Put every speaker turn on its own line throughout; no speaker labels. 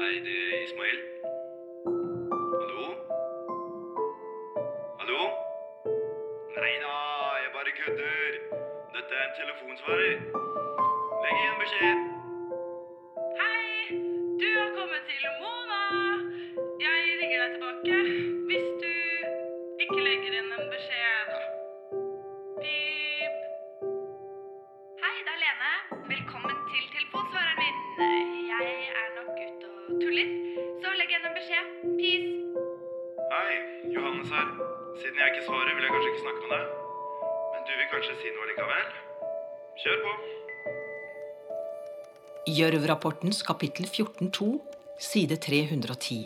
Hei, det er Ismail. Hallo? Hallo? Nei da, jeg bare kødder. Dette er en telefonsvarer. Legg igjen beskjed.
Hei, du har kommet til Mona. Jeg ringer deg tilbake hvis du ikke legger inn en beskjed, da. Pip. Hei, det er Lene. Velkommen til telefonsvareren min. Jeg er nok ute og tuller, så legg igjen en beskjed. Peace.
Hei, Johannes her. Siden jeg ikke svarer, vil jeg kanskje ikke snakke med deg. Men du vil kanskje si noe likevel? Kjør på.
Gjørv-rapportens kapittel 14.2, side 310.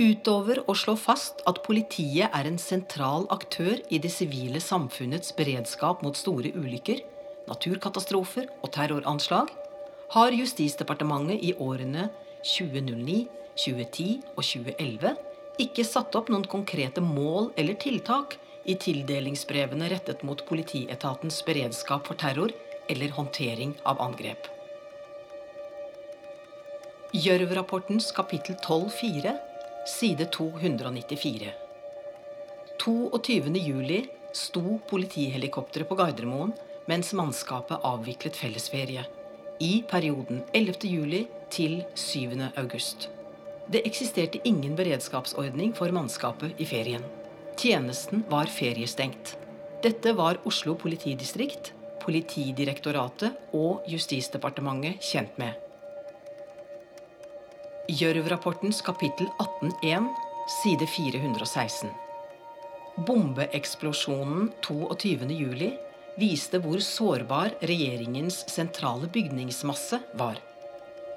Utover å slå fast at politiet er en sentral aktør i det sivile samfunnets beredskap mot store ulykker, naturkatastrofer og terroranslag, har Justisdepartementet i årene 2009, 2010 og 2011 ikke satt opp noen konkrete mål eller tiltak i tildelingsbrevene rettet mot politietatens beredskap for terror eller håndtering av angrep. Gjørv-rapportens kapittel 12.4, side 294. 22. juli sto politihelikopteret på Gardermoen mens mannskapet avviklet fellesferie. I perioden 11. juli til 7. august. Det eksisterte ingen beredskapsordning for mannskapet i ferien. Tjenesten var feriestengt. Dette var Oslo politidistrikt, Politidirektoratet og Justisdepartementet kjent med. Gjørv-rapportens kapittel 18.1, side 416. Bombeeksplosjonen 22. juli viste hvor sårbar regjeringens sentrale bygningsmasse var.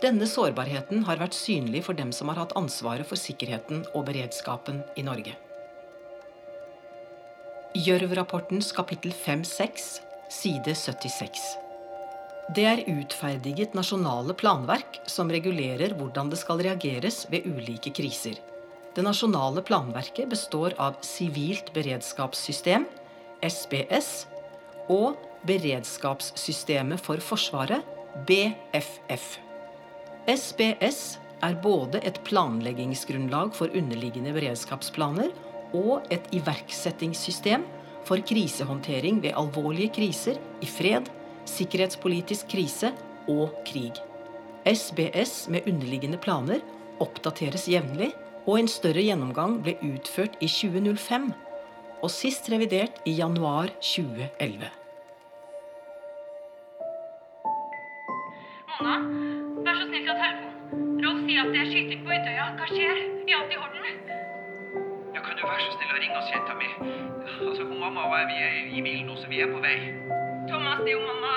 Denne sårbarheten har vært synlig for dem som har hatt ansvaret for sikkerheten og beredskapen i Norge. Gjørv-rapportens kapittel 5.6, side 76. Det er utferdiget nasjonale planverk som regulerer hvordan det skal reageres ved ulike kriser. Det nasjonale planverket består av Sivilt beredskapssystem, SPS, og Beredskapssystemet for Forsvaret, BFF. SPS er både et planleggingsgrunnlag for underliggende beredskapsplaner og et iverksettingssystem for krisehåndtering ved alvorlige kriser i fred, sikkerhetspolitisk krise og krig. SBS med underliggende planer oppdateres jevnlig, og en større gjennomgang ble utført i 2005 og sist revidert i januar 2011.
Mona, vær så snill ta telefonen. Rolf sier at det er skyting på Utøya. Hva skjer? Er alt i orden?
Ja, kan du være så snill å ringe oss, jenta mi? Altså, hun mamma og jeg, vi er i bilen nå, så vi er på vei.
Thomas, det er jo mamma.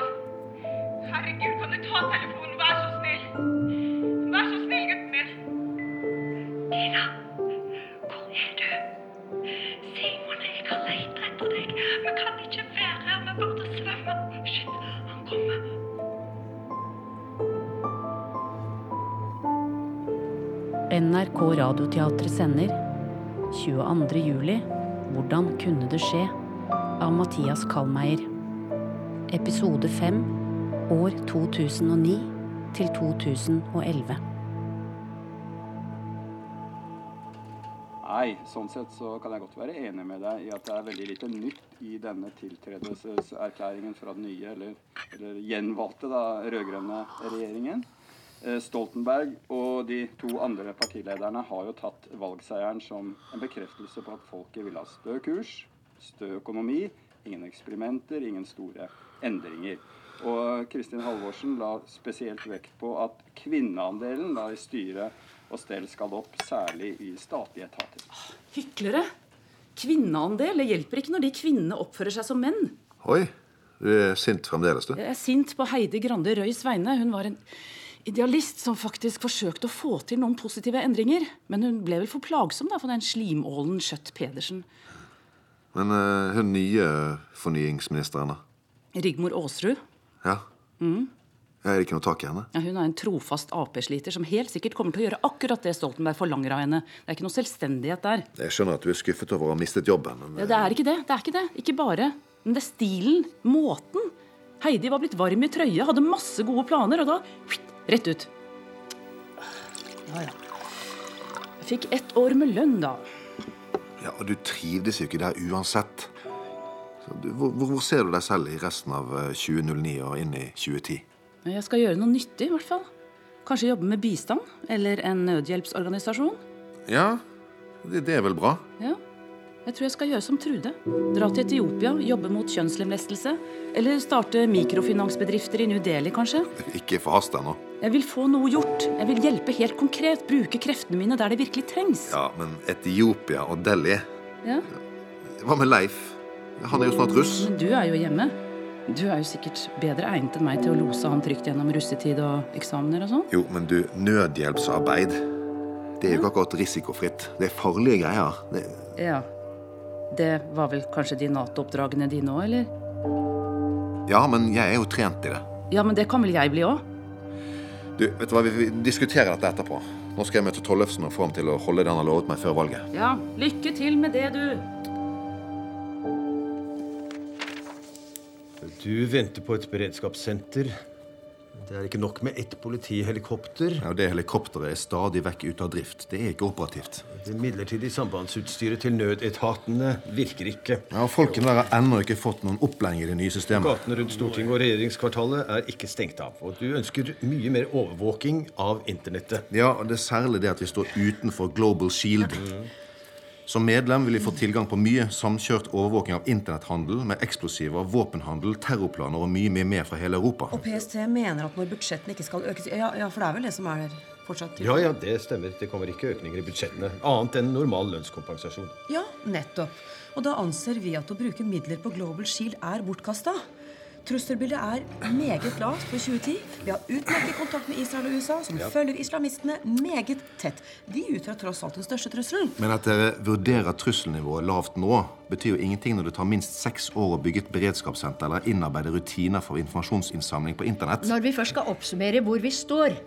Herregud, kan du ta telefonen? Vær så snill. Vær så snill, gutten min.
Tina, hvor er du? Simon, jeg har lett etter deg. Vi kan ikke være her, vi burde svømme. Shit, han kommer.
NRK Radioteatret sender 22. juli Hvordan kunne det skje? av Mathias Kallmeier. Episode 5 år 2009 til 2011.
Nei, sånn sett så kan jeg godt være enig med deg i at det er veldig lite nytt i denne tiltredelseserklæringen fra den nye, eller, eller gjenvalgte, da, rød-grønne regjeringen. Eh, Stoltenberg og de to andre partilederne har jo tatt valgseieren som en bekreftelse på at folket vil ha stø kurs, stø økonomi, ingen eksperimenter, ingen store endringer. Og Kristin Halvorsen la spesielt vekt på at kvinneandelen da i styre og stell skal opp, særlig i statlige etater.
Hyklere! Kvinneandel det hjelper ikke når de kvinnene oppfører seg som menn.
Oi, du er sint fremdeles, du.
Jeg er sint på Heidi Grande Røys vegne. Hun var en idealist som faktisk forsøkte å få til noen positive endringer. Men hun ble vel for plagsom da, for den slimålen Skjøtt Pedersen.
Men eh, hun nye fornyingsministeren, da?
Rigmor Aasrud Mm.
Ja? Er det ikke noe tak i henne?
ja, hun er en trofast Ap-sliter som helt sikkert kommer til å gjøre akkurat det Stoltenberg forlanger av henne. Det er ikke noe selvstendighet der.
Jeg skjønner at du er skuffet over å ha mistet jobben, men
Ja, det er ikke det. det er Ikke det. Ikke bare. Men det er stilen. Måten. Heidi var blitt varm i trøya, hadde masse gode planer, og da rett ut. Ja, ja. Jeg fikk ett år med lønn, da.
Ja, og Du trivdes jo ikke der uansett. Så du, hvor, hvor hvor ser du deg selv i resten av eh, 2009 og inn i 2010?
Men Jeg skal gjøre noe nyttig, i hvert fall. Kanskje jobbe med bistand eller en nødhjelpsorganisasjon.
Ja, det, det er vel bra.
Ja. Jeg tror jeg skal gjøre som Trude. Dra til Etiopia, jobbe mot kjønnslemlestelse. Eller starte mikrofinansbedrifter i New Delhi, kanskje.
Ikke forhast deg nå.
Jeg vil få noe gjort. Jeg vil hjelpe helt konkret. Bruke kreftene mine der det virkelig trengs.
Ja, men Etiopia og Delhi
Ja.
Hva med Leif? Han er jo snart russ.
Men du er jo hjemme. Du er jo sikkert bedre egnet enn meg til å lose han trygt gjennom russetid og eksamener og sånn.
Jo, men du, nødhjelpsarbeid Det er jo ikke akkurat risikofritt. Det er farlige greier. Det,
Ja. Det var vel kanskje de Nato-oppdragene dine òg, eller?
ja, men jeg er jo trent i det.
Ja, men det kan vel jeg bli òg?
Du, vet du hva, Vi vi diskuterer dette etterpå. Nå skal jeg møte Tollefsen og få ham til å holde det han har lovet meg før valget.
Ja, lykke til med det, du.
Du venter på et beredskapssenter. Det er ikke nok med ett politihelikopter.
Ja, og Det helikopteret er stadig vekk ute av drift. Det er ikke operativt.
Det midlertidige sambandsutstyret til nødetatene virker ikke.
Ja, og Folkene der har ennå ikke fått noen opplæring i det nye systemet.
Gatene rundt Stortinget og regjeringskvartalet er ikke stengt av. Og du ønsker mye mer overvåking av internettet.
Ja, og Det er særlig det at vi står utenfor Global Shield. Som medlem vil vi få tilgang på mye samkjørt overvåking av internetthandel med eksplosiver, våpenhandel, terrorplaner og mye mye mer fra hele Europa.
Og PST mener at når budsjettene ikke skal økes ja, ja, for det er vel det som er der fortsatt?
Ja, ja, det stemmer. Det kommer ikke økninger i budsjettene. Annet enn normal lønnskompensasjon.
Ja, nettopp. Og da anser vi at å bruke midler på Global Shield er bortkasta. Trusselbildet er meget lavt for 2010. Vi har utmerket kontakt med Israel og USA, som
Ja.
følger islamistene meget tett. De utgjør tross alt den største trusselen.
Men at dere vurderer trusselnivået lavt nå, betyr jo ingenting når det tar minst seks år å bygge et beredskapssenter eller innarbeide rutiner for informasjonsinnsamling på internett.
Når vi først skal oppsummere hvor vi står,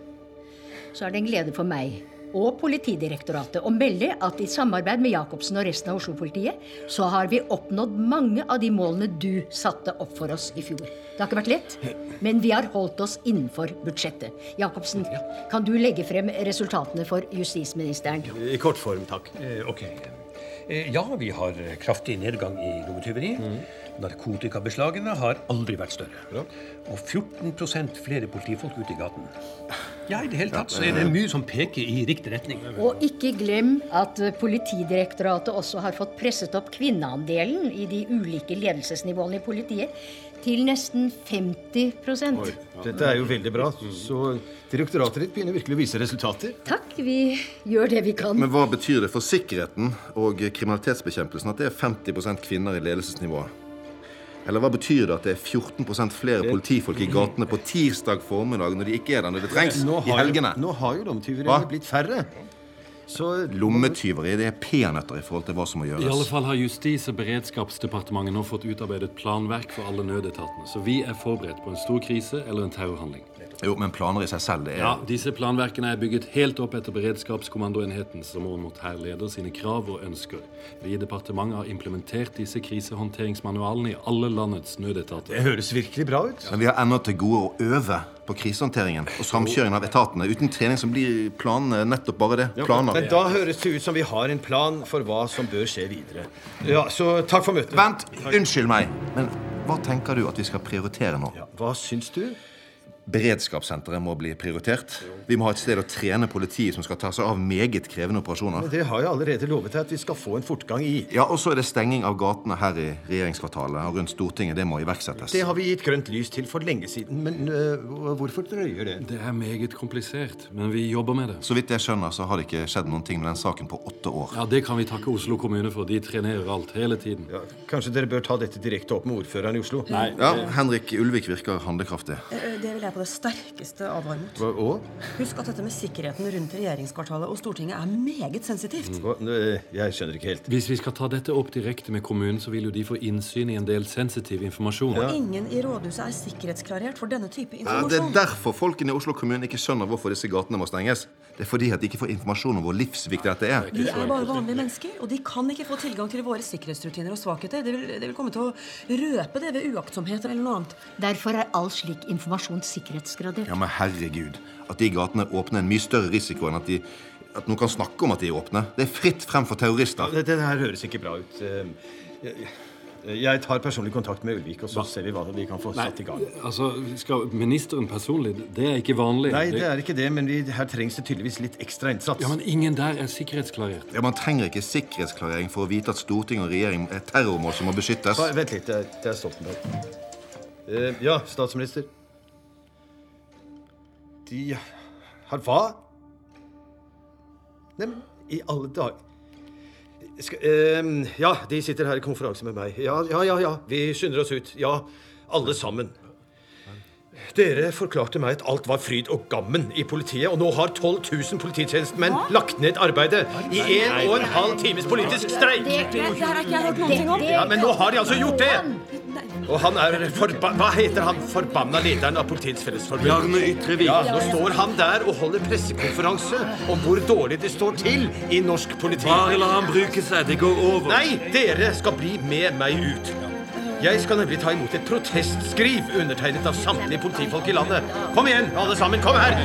så er det en glede for meg og Politidirektoratet å melde at i samarbeid med Jacobsen og resten av Oslo-politiet, så har vi oppnådd mange av de målene du satte opp for oss i fjor. Det har ikke vært lett, men vi har holdt oss innenfor budsjettet. Jacobsen, kan du legge frem resultatene for justisministeren?
I kort form, takk. ok. Eh, ja, vi har kraftig nedgang i lommetyveri. Narkotikabeslagene har aldri vært større. Og 14 flere politifolk ute i gaten. Ja, i det hele tatt så er det mye som peker i riktig retning.
Og ikke glem at eh, Politidirektoratet også har fått presset opp kvinneandelen i de ulike ledelsesnivåene i politiet til nesten 50
Dette er jo veldig bra. Så direktoratet ditt begynner virkelig å vise resultater.
Takk, vi gjør det vi kan.
Men hva betyr det for sikkerheten og kriminalitetsbekjempelsen at det er 50 kvinner i ledelsesnivået? Eller hva betyr det at det er 14 flere politifolk i gatene på tirsdag formiddag når de ikke er der når det trengs?
Nå
I
har jo-
helgene.
Nå har jo lommetyveriene
Hva?
blitt færre. Så
Lommetyveri det er peanøtter i forhold til hva som må
I alle
gjøres.
fall har Justis- og beredskapsdepartementet nå fått utarbeidet planverk for alle nødetatene, så vi er forberedt på en stor krise eller en terrorhandling.
Jo, men planer i seg selv, det
Eh.
er
Ja, Disse planverkene er bygget helt opp etter beredskapskommandoenheten, som over mot hærleder sine krav og ønsker. Vi i departementet har implementert disse krisehåndteringsmanualene i alle landets nødetater.
Det høres virkelig bra ut.
Men vi har ennå til gode å øve på krisehåndteringen og samkjøringen av etatene. Uten trening så blir planene nettopp bare det. Planer.
Men da høres det ut som vi har en plan for hva som bør skje videre. Ja, så takk for møtet.
Vent! Unnskyld meg, men hva tenker du at vi skal prioritere nå?
Hva syns du?
Beredskapssenteret må bli prioritert. Vi må ha et sted å trene politiet som skal ta seg av meget krevende operasjoner.
Det har jeg allerede lovet deg at vi skal få en fortgang i.
Ja, Og så er det stenging av gatene her i regjeringskvartalet og rundt Stortinget. Det må iverksettes.
Det har vi gitt grønt lys til for lenge siden, men øh, hvorfor drøyer det?
Det er meget komplisert, men vi jobber med det.
Så vidt jeg skjønner, så har det ikke skjedd noen ting med den saken på åtte år.
Ja, Det kan vi takke Oslo kommune for. De trenerer alt hele tiden.
Kanskje dere bør ta dette direkte opp med ordføreren i Oslo?
Nei.
Ja, Henrik Ulvik virker handlekraftig.
Eh, eh, Det vil jeg på det sterkeste advare mot.
Hva, og?
Husk at dette med sikkerheten rundt regjeringskvartalet og Stortinget er meget sensitivt.
Hva, Nø, jeg skjønner ikke helt.
Hvis vi skal ta dette opp direkte med kommunen, så vil jo de få innsyn i en del sensitiv informasjon.
Og ingen i rådhuset er sikkerhetsklarert for denne type
Mm. Ja, det er
informasjon.
derfor folkene i Oslo kommune ikke skjønner hvorfor disse gatene må stenges. Det er fordi at de ikke får informasjon om hvor livsviktig dette er.
Vi er bare vanlige mennesker, og de kan ikke få tilgang til våre sikkerhetsrutiner og svakheter. Det vil, det vil komme til å røpe det ved uaktsomhet eller noe annet.
Derfor er all slik informasjon sikkerhet.
sikkerhetsgradert.
Ja, men herregud. At de gatene er åpne, er en mye større risiko enn at, de, at noen kan snakke om at de er åpne. Det er fritt frem for terrorister.
Dette her høres ikke bra ut. Ehm, Jeg, jeg tar personlig kontakt med Ulvik, og så ser vi hva vi kan få satt i gang.
Altså, skal ministeren personlig? Det er ikke vanlig.
Nei, det er ikke det, men vi, her trengs det tydeligvis litt ekstra innsats.
Ja, men ingen der er sikkerhetsklarert.
Ja, Man trenger ikke sikkerhetsklarering for å vite at storting og regjering er terrormål som må beskyttes.
Bare vent litt, det er- det er Stoltenberg. Eh, ja, statsminister. De har hva? Neimen, i alle dager Skal, ehm, Ja, de sitter her i konferanse med meg. Ja, ja, ja. ja. Vi skynder oss ut. Ja, alle sammen. Dere forklarte meg at alt var fryd og gammen i politiet, og nå har 12 000 polititjenestemenn lagt ned arbeidet i en og en halv times politisk streik!
Det her har ikke jeg hørt noen ting om.
Ja, men nå har de altså gjort det! Og han er forba... Hva heter han forbanna lederen av Politiets Fellesforbund?
Bjarne Ytrevik.
Ja, nå står han der og holder pressekonferanse om hvor dårlig det står til i norsk politi.
Bare la han bruke seg. Det går over.
Nei, dere skal bli med meg ut. Jeg skal nemlig ta imot et protestskriv undertegnet av samtlige politifolk i landet. Kom igjen, alle sammen. Kom her!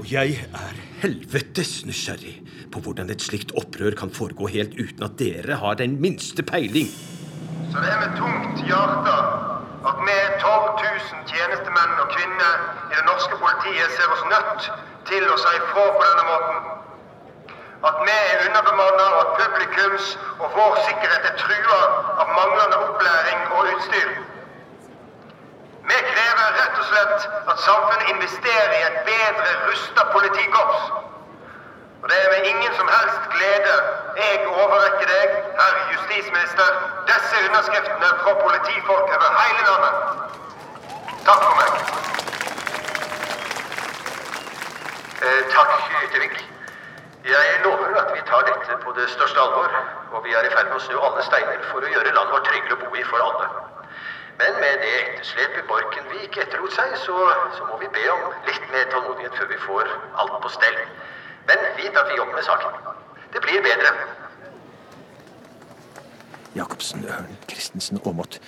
Og jeg er helvetes nysgjerrig på hvordan et slikt opprør kan foregå helt uten at dere har den minste peiling.
Så det er med tungt hjerte at vi 12 000 tjenestemenn og kvinner i det norske politiet ser oss nødt til å si ifra på denne måten. At vi er underbemanna, og at publikums og vår sikkerhet er trua av manglende opplæring og utstyr. Vi krever rett og slett at samfunnet investerer i et bedre rusta politikorps. Og det er med ingen som helst glede jeg overrekker deg, herr justisminister, disse underskriftene fra politifolk over hele landet. Takk for meg.
Eh, takk, Yttervik. Jeg lover at vi tar dette på det største alvor, og vi er i ferd med å snu alle steiner for å gjøre landet vårt tryggere å bo i for alle. Men med det etterslepet Borkenvik etterlot seg, så, så må vi be om litt mer tålmodighet før vi får alt på stell. Men vit at vi jobber med saken. Det blir bedre.
Jacobsen, Ørn, Christensen, Aamodt.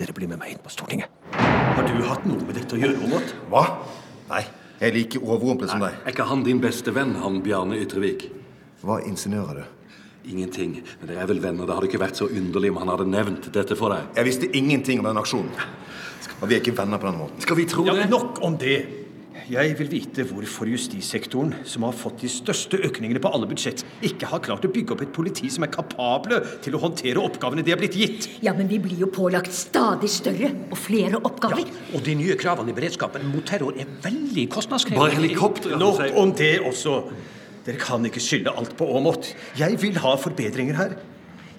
Dere blir med meg inn på Stortinget. Har du hatt noe med dette å gjøre, Aamodt?
Hva? Nei. Jeg er like overrumplet som deg.
Er ikke han din beste venn, han Bjarne Ytrevik?
Hva insinuerer du?
Ingenting. Men dere er vel venner. Det hadde ikke vært så underlig om han hadde nevnt dette for deg.
Jeg visste ingenting om den aksjonen. Og vi er ikke venner på den måten.
Skal vi tro det? Nok om det. Jeg vil vite hvorfor justissektoren, som har fått de største økningene på alle budsjett, ikke har klart å bygge opp et politi som er kapable til å håndtere oppgavene de er blitt gitt.
Ja, men vi blir jo pålagt stadig større og flere oppgaver.
Og de nye kravene i beredskapen mot terror er veldig kostnadskrevende.
Bare helikoptre, Nok om det også. Dere kan ikke skylde alt på Aamodt. Jeg vil ha forbedringer her.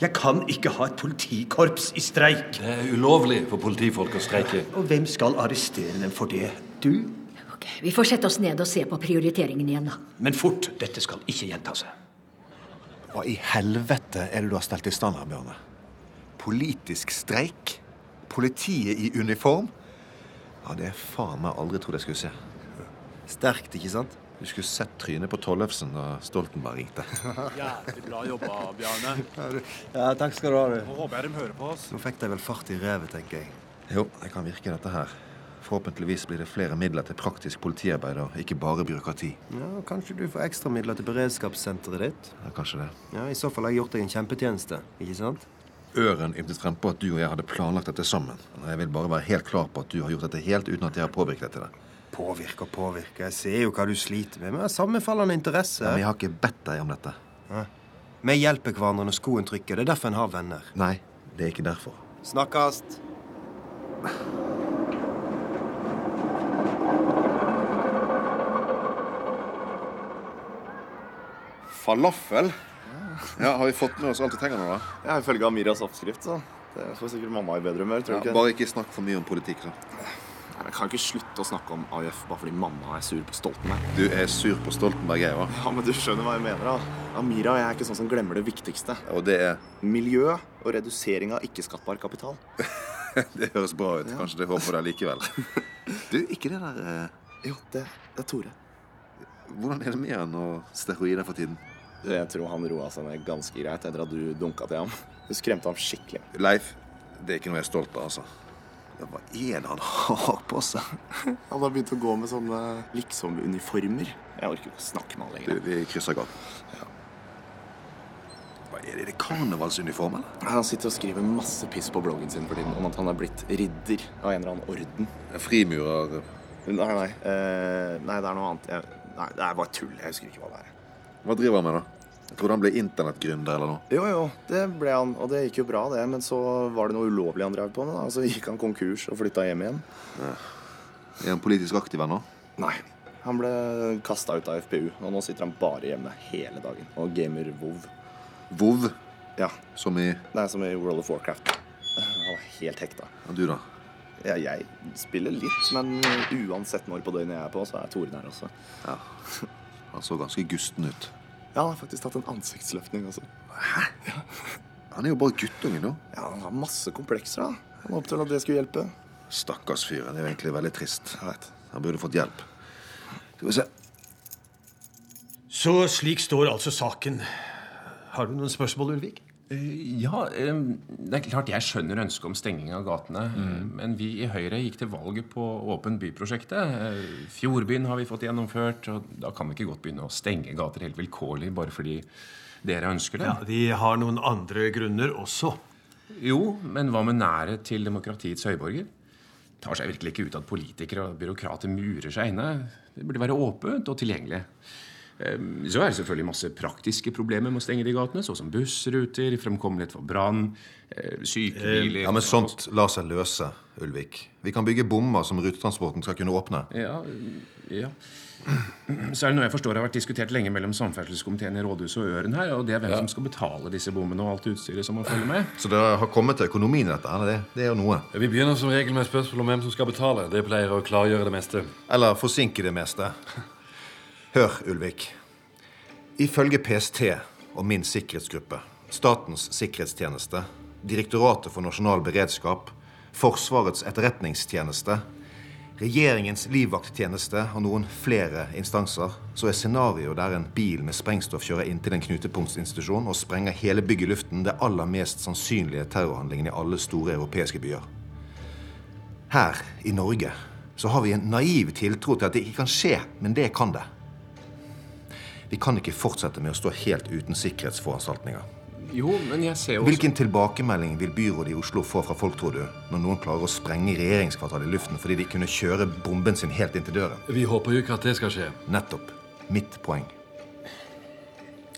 Jeg kan ikke ha et politikorps i streik.
Det er ulovlig for politifolk å streike.
Og hvem skal arrestere dem for det?
Vi får sette oss ned og se på prioriteringen igjen, da.
Men fort! Dette skal ikke gjenta seg.
Hva i helvete er det du har stelt i stand her, Bjørne? Politisk streik? Politiet i uniform? Ja, Det er faen meg aldri trodd jeg skulle se. Sterkt, ikke sant?
Du skulle sett trynet på Tollefsen da Stoltenberg ringte.
Jævlig bra jobba, Bjarne.
Ja, takk skal du ha,
Nå håper jeg de hører på oss.
Nå fikk de vel fart i revet, tenker jeg.
Jo, det kan virke dette her. Forhåpentligvis blir det flere midler til praktisk politiarbeid og ikke bare byråkrati.
Ja, Kanskje du får ekstra midler til beredskapssenteret ditt?
Ja, kanskje det.
Ja, I så fall har jeg gjort deg en kjempetjeneste, ikke sant?
Øren ymtet frempå at du og jeg hadde planlagt dette sammen. Og Jeg vil bare være helt klar på at du har gjort dette helt uten at jeg har påvirket deg til det.
Påvirke og påvirke. Jeg ser jo hva du sliter med. Vi har sammenfallende interesse.
Men jeg har ikke bedt deg om dette.
Hæ? Vi hjelper hverandre når skoen trykker. Det er derfor en har venner.
Nei, det er ikke derfor.
Snakkes.
Falafel? Ja, Har vi fått med oss alt vi trenger nå, da?
Ja, Ifølge Amiras oppskrift, så. Det får sikkert mamma i bedre humør. tror
Ja,
du ikke?
bare ikke snakk for mye om politikk, da.
Nei, men Jeg kan ikke slutte å snakke om AUF bare fordi mamma er sur på Stoltenberg.
Du er sur på Stoltenberg, jeg òg.
Ja, men du skjønner hva jeg mener. da. Amira og jeg er ikke sånn som glemmer det viktigste.
Og det er
Miljø og redusering av ikke-skattbar kapital.
Det høres bra ut. Kanskje det håper deg likevel. Du, ikke det der eh,
Jo, det, det er Tore.
Hvordan er det med han og steroider for tiden?
Jeg tror han roa seg ned ganske greit etter at du dunka til ham. Du skremte ham skikkelig.
Leif, det er ikke noe jeg er stolt av, altså.
Ja, hva er det han har på seg? Han har begynt å gå med sånne liksom-uniformer. Liksom Jeg orker ikke å snakke med han lenger.
Vi krysser gaten.
Hva er det? Karnevalsuniform, eller? Han sitter og skriver masse piss på bloggen sin for tiden om at han er blitt ridder av en eller annen orden. Frimurer? Nei, nei. eh, nei, det er noe annet. Jeg, nei, det er bare tull. Jeg husker ikke hva det er.
Hva driver han med, da? Jeg trodde han ble internettgründer eller noe.
Jo, jo, det ble han, og det gikk jo bra, det. Men så var det noe ulovlig han drev på med, da. Og så gikk han konkurs og flytta hjem igjen.
Er han politisk aktiv ennå?
Nei. Han ble kasta ut av FPU, og nå sitter han bare hjemme hele dagen og gamer WoW.
Vov?
Ja.
Som i
Nei, som i World of Warcraft. Han var helt hekta.
Og du, da?
Ja, jeg spiller litt, men uansett når på døgnet jeg er på, så er Tore der også.
Ja. Han så ganske gusten ut.
Ja, han har faktisk tatt en ansiktsløftning også.
Han er jo bare guttungen, da.
Ja, han har masse komplekser, da. Han håpet vel at det skulle hjelpe.
Stakkars fyren. Det er jo egentlig veldig trist. Han burde fått hjelp. Skal vi se.
Så slik står altså saken. Har du noen spørsmål, Ulvik?
Eh, Ja, eh, det er klart jeg skjønner ønsket om stenging av gatene. eh,
Mm.
Men vi i Høyre gikk til valget på Åpen by-prosjektet. Eh, Fjordbyen har vi fått gjennomført, og da kan vi ikke godt begynne å stenge gater helt vilkårlig bare fordi dere ønsker det.
Ja, Vi har noen andre grunner også.
Jo, men hva med nærhet til demokratiets høyborger? Tar seg virkelig ikke ut at politikere og byråkrater murer seg inne. Det burde være åpent og tilgjengelig. Eh, Så er det selvfølgelig masse praktiske problemer med å stenge de gatene, så som bussruter, fremkommelighet for brann, eh, sykebiler
Ja, men sånn- sånt lar seg løse, Ulvik. Vi kan bygge bommer som rutetransporten skal kunne åpne.
Ja, ja. Så er det noe jeg forstår har vært diskutert lenge mellom samferdselskomiteen i Rådhuset og Øren her, og det er hvem som skal betale disse bommene og alt utstyret som må følge med.
Så det har kommet til økonomien i dette. eller Det, det er jo noe.
Vi begynner som regel med spørsmål om hvem som skal betale. Det pleier å klargjøre det meste.
Eller forsinke det meste. Hør, Ulvik. Ifølge PST og min sikkerhetsgruppe, Statens sikkerhetstjeneste, Direktoratet for nasjonal beredskap, Forsvarets etterretningstjeneste, regjeringens livvakttjeneste og noen flere instanser, så er scenarioet der en bil med sprengstoff kjører inn til en knutepunktsinstitusjon og sprenger hele bygget i luften, det aller mest sannsynlige terrorhandlingen i alle store europeiske byer. Her i Norge så har vi en naiv tiltro til at det ikke kan skje, men det kan det. Vi kan ikke fortsette med å stå helt uten sikkerhetsforanstaltninger.
Jo, men jeg ser jo også
Hvilken tilbakemelding vil byrådet i Oslo få fra folk, tror du, når noen klarer å sprenge regjeringskvartalet i luften fordi de kunne kjøre bomben sin helt inn til døren?
Vi håper jo ikke at det skal skje.
Nettopp. Mitt poeng.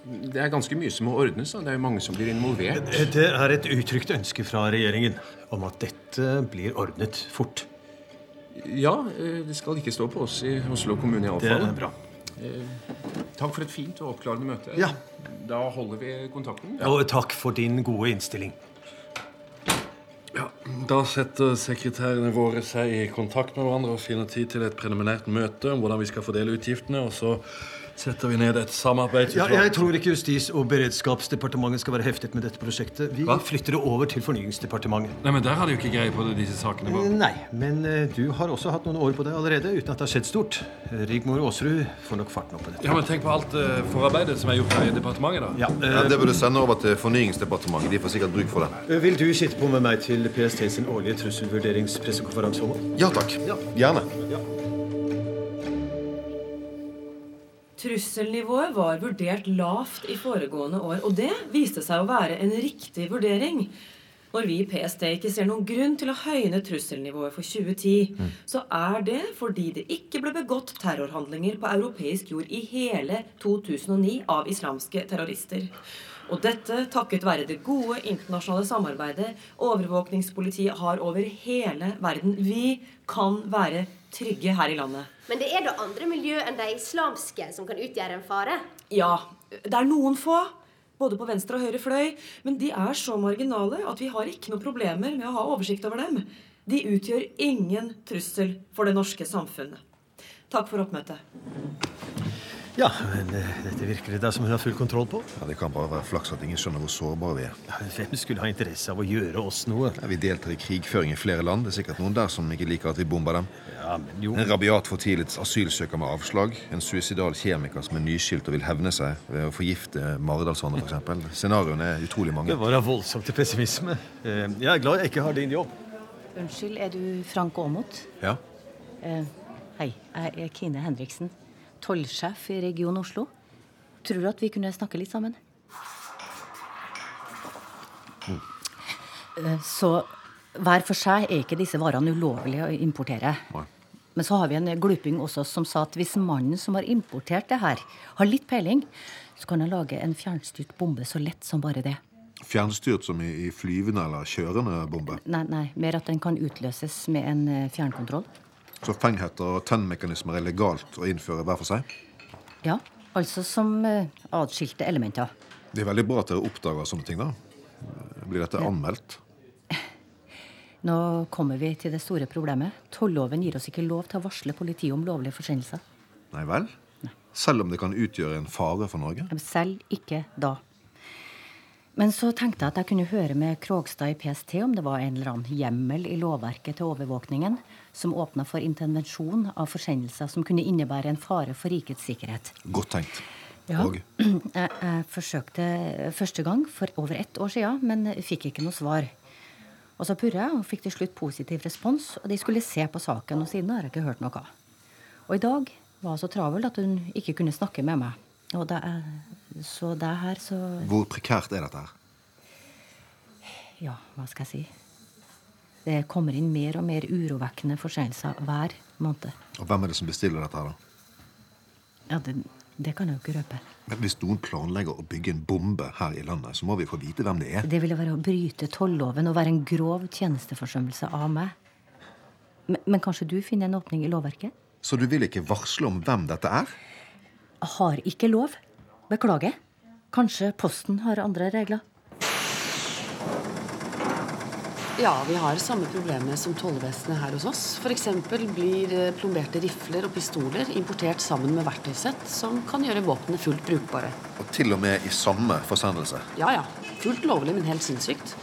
Det er ganske mye som må ordnes. Da. Det er jo mange som blir involvert.
Det er et uttrykt ønske fra regjeringen om at dette blir ordnet fort.
Ja, eh, det skal ikke stå på oss i Oslo kommune i alle
Det er
fall.
bra.
Eh, Takk for et fint og oppklarende møte.
Ja.
Da holder vi kontakten.
Og takk for din gode innstilling.
Da setter sekretærene våre seg i kontakt med hverandre og finner tid til et preliminært møte om hvordan vi skal fordele utgiftene, og så setter vi ned et
Ja,
samarbeidsutvalg.
jeg tror ikke Justis- og beredskapsdepartementet skal være heftet med dette prosjektet. Vi
Hva?
flytter det over til Fornyingsdepartementet.
Nei, men Der har de jo ikke greie på det, disse sakene. Bare.
Nei, men eh, du har også hatt noen år på deg allerede uten at det har skjedd stort. Eh, Rigmor Aasrud får nok farten opp på dette.
Ja, men Tenk på alt eh, forarbeidet som er gjort her i departementet. da.
eh,
Ja, det bør du sende over til Fornyingsdepartementet. De får sikkert bruk for det.
Eh, Vil du sitte på med meg til PST sin årlige trusselvurderingspressekonferanse? Håvard?
Ja takk. Gjerne.
Trusselnivået var vurdert lavt i foregående år, og det viste seg å være en riktig vurdering. Når vi i PST ikke ser noen grunn til å høyne trusselnivået for 2010, så er det fordi det ikke ble begått terrorhandlinger på europeisk jord i hele 2009 av islamske terrorister. Og dette takket være det gode internasjonale samarbeidet overvåkningspolitiet har over hele verden. Vi kan være trygge her i landet.
Men det er da andre miljø enn de islamske som kan utgjøre en fare?
Ja, det er noen få, både på venstre og høyre fløy, men de er så marginale at vi har ikke noen problemer med å ha oversikt over dem. De utgjør ingen trussel for det norske samfunnet. Takk for oppmøtet.
Ja, men eh, dette virker det da som hun har full kontroll på.
Ja, Det kan bare være flaks at ingen skjønner hvor sårbare vi er.
Hvem skulle ha interesse av å gjøre oss noe?
vi deltar i krigføring i flere land. Det er sikkert noen der som ikke liker at vi bomber dem. En rabiat fortvilet asylsøker med avslag. En suicidal kjemiker som er nyskilt og vil hevne seg ved å forgifte Maridalsvannet, f.eks. Scenarioene er utrolig mange.
Det var da voldsomt til pessimisme. Eh, Jeg er glad jeg ikke har din jobb.
Unnskyld, er du Frank Aamodt?
Ja.
Eh, hei, jeg er Kine Henriksen, tollsjef i Region Oslo. Tror du at vi kunne snakke litt sammen? Eh, så hver for seg er ikke disse varene ulovlige å importere. Men så har vi en gluping også som sa at hvis mannen som har importert det her, har litt peiling, så kan han lage en fjernstyrt bombe så lett som bare det.
Fjernstyrt som i, i flyvende eller kjørende bombe.
Nei, nei, mer at den kan utløses med en eh, fjernkontroll.
Så fengheter og tennmekanismer er legalt å innføre hver for seg.
Ja, altså som eh, atskilte elementer.
Det er veldig bra at dere oppdager sånne ting, da. Blir dette anmeldt?
Nå kommer vi til det store problemet. Tolloven gir oss ikke lov til å varsle politiet om lovlige forsendelser.
Nei vel? Selv om det kan utgjøre en fare for Norge?
Selv ikke da. Men så tenkte jeg at jeg kunne høre med Krogstad i PST om det var en eller annen hjemmel i lovverket til overvåkningen som åpna for intervensjon av forsendelser som kunne innebære en fare for rikets sikkerhet.
Godt tenkt.
Ja.
Og
Jeg, jeg forsøkte første gang for over ett år siden, men fikk ikke noe svar. Og så purra jeg og fikk til slutt positiv respons, og de skulle se på saken. Og siden har jeg ikke hørt noe. Og i dag var jeg så travel at hun ikke kunne snakke med meg. Og da jeg så deg her, så
hvor prekært er dette her?
Ja, hva skal jeg si? Det kommer inn mer og mer urovekkende forseelser hver måned.
Og hvem er det som bestiller dette her, da?
Ja, det, det kan jeg jo ikke røpe.
Men hvis noen planlegger å bygge en bombe her i landet, så må vi få vite hvem det er.
Det ville være å bryte tolloven og være en grov tjenesteforsømmelse av meg. Men, men kanskje du finner en åpning i lovverket?
Så du vil ikke varsle om hvem dette er?
Jeg har ikke lov. Beklager. Kanskje Posten har andre regler?
Ja, vi har samme problemet som tollvesenet her hos oss. F.eks. blir eh, plomberte rifler og pistoler importert sammen med verktøysett som kan gjøre våpnene fullt brukbare.
Og til og med i samme forsendelse.
Ja ja, fullt lovlig, men helt sinnssykt.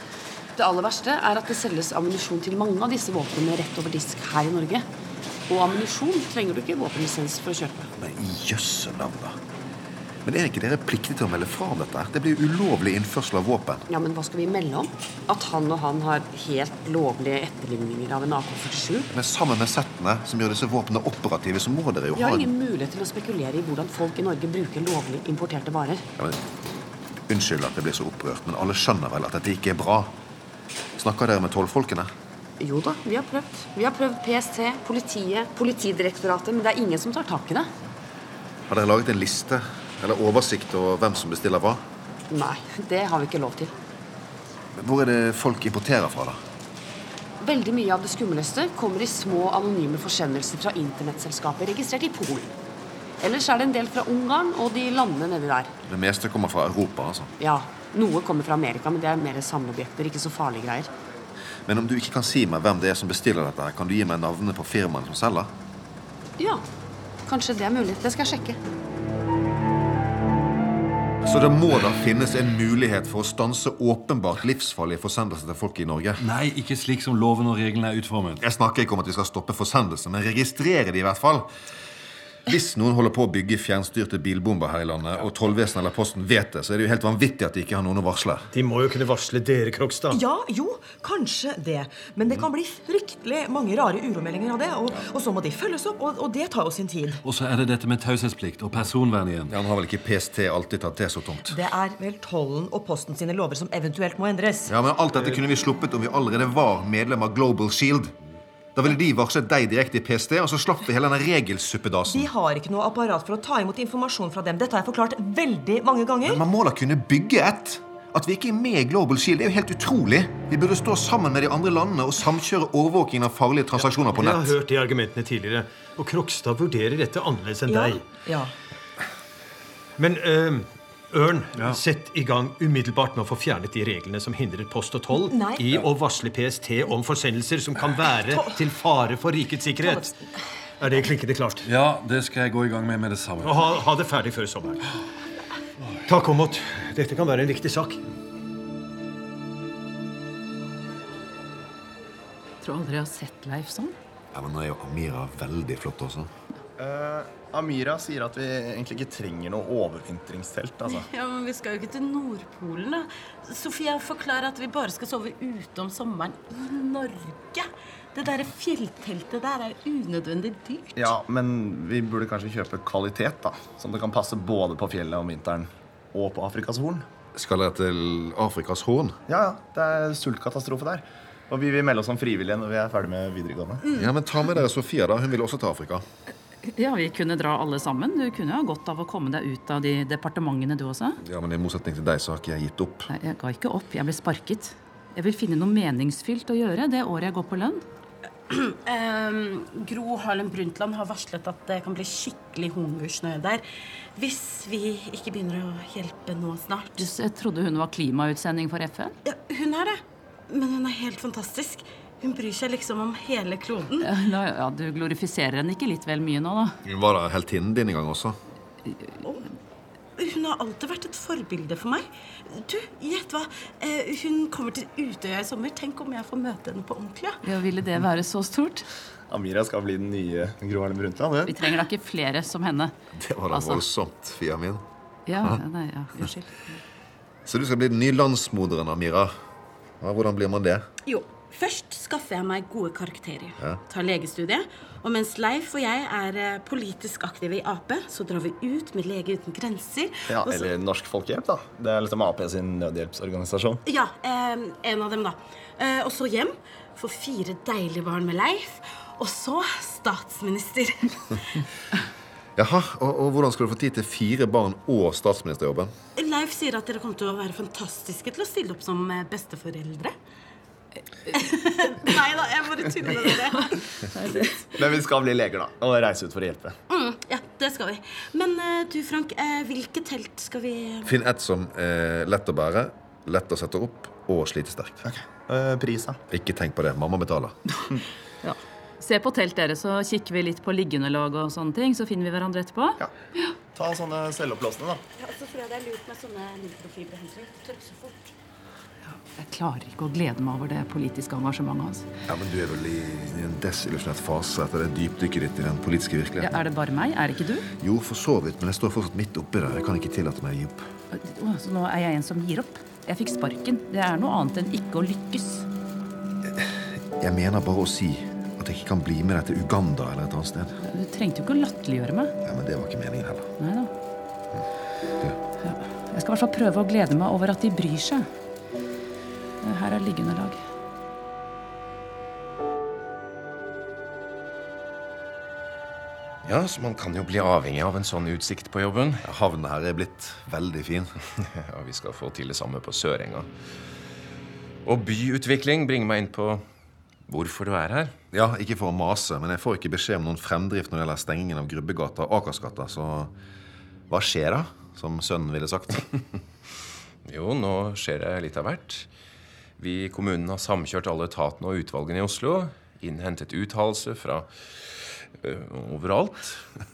Det aller verste er at det selges ammunisjon til mange av disse våpnene rett over disk her i Norge. Og ammunisjon trenger du ikke våpenlisens for å kjøpe.
Men i jøsse navn, da. Men er ikke dere pliktige til å melde fra om dette? her? Det blir jo ulovlig innførsel av våpen.
Ja, men hva skal vi melde om? At han og han har helt lovlige etterligninger av en AK-47?
Men sammen med settene som gjør disse våpnene operative, så må dere jo
Vi
ha
har ingen mulighet til å spekulere i hvordan folk i Norge bruker lovlig importerte varer.
Ja, men, unnskyld at jeg blir så opprørt, men alle skjønner vel at dette ikke er bra? Snakker dere med tollfolkene?
Jo da, vi har prøvd. Vi har prøvd PST, politiet, Politidirektoratet, men det er ingen som tar tak i det.
Har dere laget en liste eller oversikt over hvem som bestiller hva?
Nei, det har vi ikke lov til.
Hvor er det folk importerer fra, da?
Veldig mye av det skumleste kommer i små, anonyme forsendelser fra internettselskaper registrert i Polen. Ellers er det en del fra Ungarn og de landene nedi der.
Det meste kommer fra Europa, altså.
Ja, noe kommer fra Amerika, men det er mer samleobjekter, ikke så farlige greier.
Men om du ikke kan si meg hvem det er som bestiller dette, her, kan du gi meg navnet på firmaene som selger?
Ja, kanskje det er mulig. Det skal jeg sjekke.
Så det må da finnes en mulighet for å stanse åpenbart livsfarlige forsendelser til folk i Norge?
Nei, ikke slik som loven og reglene er utformet.
Jeg snakker ikke om at vi skal stoppe forsendelser, men registrere de i hvert fall. Hvis noen holder på å bygge fjernstyrte bilbomber her i landet, og tollvesenet eller Posten vet det, så er det jo helt vanvittig at de ikke har noen å varsle.
De må jo kunne varsle dere, Krokstad.
Ja, jo, kanskje det. Men det kan bli fryktelig mange rare uromeldinger av det. Og, og så må de følges opp, og, og det tar jo sin tid.
Og så er det dette med taushetsplikt og personvern igjen.
Ja, Han har vel ikke PST alltid tatt det så tungt?
Det er vel tollen og posten sine lover som eventuelt må endres.
Ja, men Alt dette kunne vi sluppet om vi allerede var medlem av Global Shield. Da ville de varslet deg direkte i PST, og så slapp vi hele denne regelsuppedasen.
De har ikke noe apparat for å ta imot informasjon fra dem. Dette har jeg forklart veldig mange ganger.
Men man må da kunne bygge et. At vi ikke er med i Global Shield, er jo helt utrolig. Vi burde stå sammen med de andre landene og samkjøre overvåkingen av farlige transaksjoner på
Jeg har
nett.
hørt de argumentene tidligere. Og Krokstad vurderer dette annerledes enn
Ja,
deg.
ja.
Men eh, Ørn, sett i gang umiddelbart med å få fjernet de reglene som hindrer post og toll
Nei.
i å varsle PST om forsendelser som kan være til fare for rikets sikkerhet. Er det klinkende klart?
Ja, det skal jeg gå i gang med med det samme.
Og ha, ha det ferdig før sommeren. Takk, Åmot. Dette kan være en viktig sak.
Tror aldri jeg har sett Leif sånn.
Ja, men nå er jo Amira veldig flott også.
Eh, Amira sier at vi egentlig ikke trenger noe overvintringstelt. altså.
Ja, men Vi skal jo ikke til Nordpolen, da. Sofia forklarer at vi bare skal sove ute om sommeren i Norge. Det derre fjellteltet der er jo unødvendig dyrt.
Ja, Men vi burde kanskje kjøpe kvalitet, da. Sånn at det kan passe både på fjellet om vinteren og på Afrikas Horn.
Skal dere til Afrikas Horn?
Ja, ja. Det er sultkatastrofe der. Og vi vil melde oss som frivillige når vi er ferdig med videregående.
Mm. Ja, men Ta med dere Sofia, da. Hun vil også til Afrika.
Ja, vi kunne dra alle sammen. Du kunne jo ha godt av å komme deg ut av de departementene, du også.
Ja, men I motsetning til deg så har ikke jeg gitt opp.
Nei, jeg ga ikke opp. Jeg ble sparket. Jeg vil finne noe meningsfylt å gjøre det året jeg går på lønn.
Ehm, Gro Harlem Brundtland har varslet at det kan bli skikkelig hungersnø der hvis vi ikke begynner å hjelpe nå snart.
Jøss, Jeg trodde hun var klimautsending for FN.
Ja, hun er det, men hun er helt fantastisk. Hun bryr seg liksom om hele kloden.
Ja, la- ja, Du glorifiserer henne ikke litt vel mye nå, da?
Hun var da heltinnen din en gang også.
Og Hun har alltid vært et forbilde for meg. Du, gjett hva. Eh, hun kommer til Utøya i sommer. Tenk om jeg får møte henne på ordentlig. ja.
Ja, Ville det være så stort?
Amira skal bli den nye Gro Harlem Brundtland.
Vi trenger da ikke flere som henne.
Det var da
Altså.
voldsomt, fia min.
Ja,
Hæ?
nei, ja, unnskyld.
Så du skal bli den nye landsmoderen, Amira. Ja, hvordan blir man det?
Jo, først skaffer jeg meg gode karakterer.
Ja.
Tar legestudiet. Og mens Leif og jeg er eh, politisk aktive i Ap, så drar vi ut med Lege uten grenser.
Ja,
og så-
Eller Norsk Folkehjelp, da. Det er liksom Ap sin nødhjelpsorganisasjon.
Ja, eh, en av dem, da. Eh, og så hjem. Får fire deilige barn med Leif. Og så statsminister.
Jaha, og, og hvordan skal du få tid til fire barn og statsministerjobben?
Leif sier at dere kommer til å være fantastiske til å stille opp som eh, besteforeldre. Nei da, jeg bare tuller med dere.
Men vi skal bli leger, da. Og reise ut for å hjelpe.
Mm, ja, det skal vi. Men eh, du, Frank, eh, hvilket telt skal vi
Finn ett som er lett å bære, lett å sette opp og slite sterkt.
Eh, Pris, da?
Ikke tenk på det. Mamma betaler.
Se på teltet deres, så kikker vi litt på liggeunderlag og sånne ting. Så finner vi hverandre etterpå.
Ta sånne selvoppblåsende, da.
Ja, så tror jeg altså, det er lurt med sånne mikrofibre, Henrik. Tørk så fort.
Jeg klarer ikke å glede meg over det politiske engasjementet hans.
Ja, men Du er vel i i en desillusjonert fase etter det dypdykket ditt i den politiske
Ja,
virkeligheten?
er det bare meg? Er det ikke du?
Jo, for så vidt, men jeg står fortsatt midt oppi det. Jeg kan ikke tillate meg å gi opp.
Å, så nå er jeg en som gir opp. Jeg fikk sparken. Det er noe annet enn ikke å lykkes.
Jeg mener bare å si at jeg ikke kan bli med deg til Uganda eller et annet sted.
Du trengte jo ikke å latterliggjøre meg.
Ja, Men det var ikke meningen heller.
Nei da. Ja. Jeg skal i hvert fall prøve å glede meg over at de bryr seg. Her er liggeunderlag.
Ja, så man kan jo bli avhengig av en sånn utsikt på jobben. Havnen her er blitt veldig fin.
Ja, vi skal få til det samme på Sørenga. Og byutvikling bringer meg inn på hvorfor du er her.
Ja, ikke for å mase, men jeg får ikke beskjed om noen fremdrift når det gjelder stengingen av Grubbegata og Akersgata, så hva skjer da? Som sønnen ville sagt.
Jo, nå skjer det litt av hvert. Vi i kommunen har samkjørt alle etatene og utvalgene i Oslo. Innhentet uttalelse fra ø, overalt.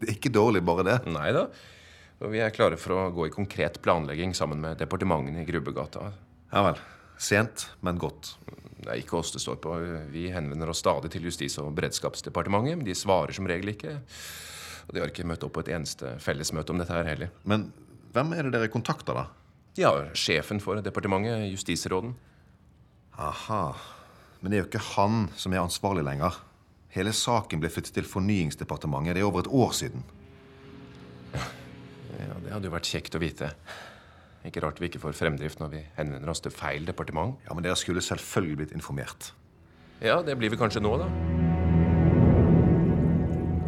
Det er ikke dårlig, bare det.
Nei da. Og vi er klare for å gå i konkret planlegging sammen med departementene i Grubbegata.
Ja vel. Sent, men godt.
Det er ikke oss det står på. Vi henvender oss stadig til Justis- og beredskapsdepartementet, men de svarer som regel ikke. Og de har ikke møtt opp på et eneste fellesmøte om dette her heller.
Men hvem er det dere kontakter, da?
Ja, sjefen for departementet, justisråden.
Aha. Men det er jo ikke han som er ansvarlig lenger. Hele saken ble flyttet til Fornyingsdepartementet. Det er over et år siden.
Ja, Det hadde jo vært kjekt å vite. Ikke rart vi ikke får fremdrift når vi henvender oss til feil departement.
Ja, Men dere skulle selvfølgelig blitt informert.
Ja, det blir vi kanskje nå, da.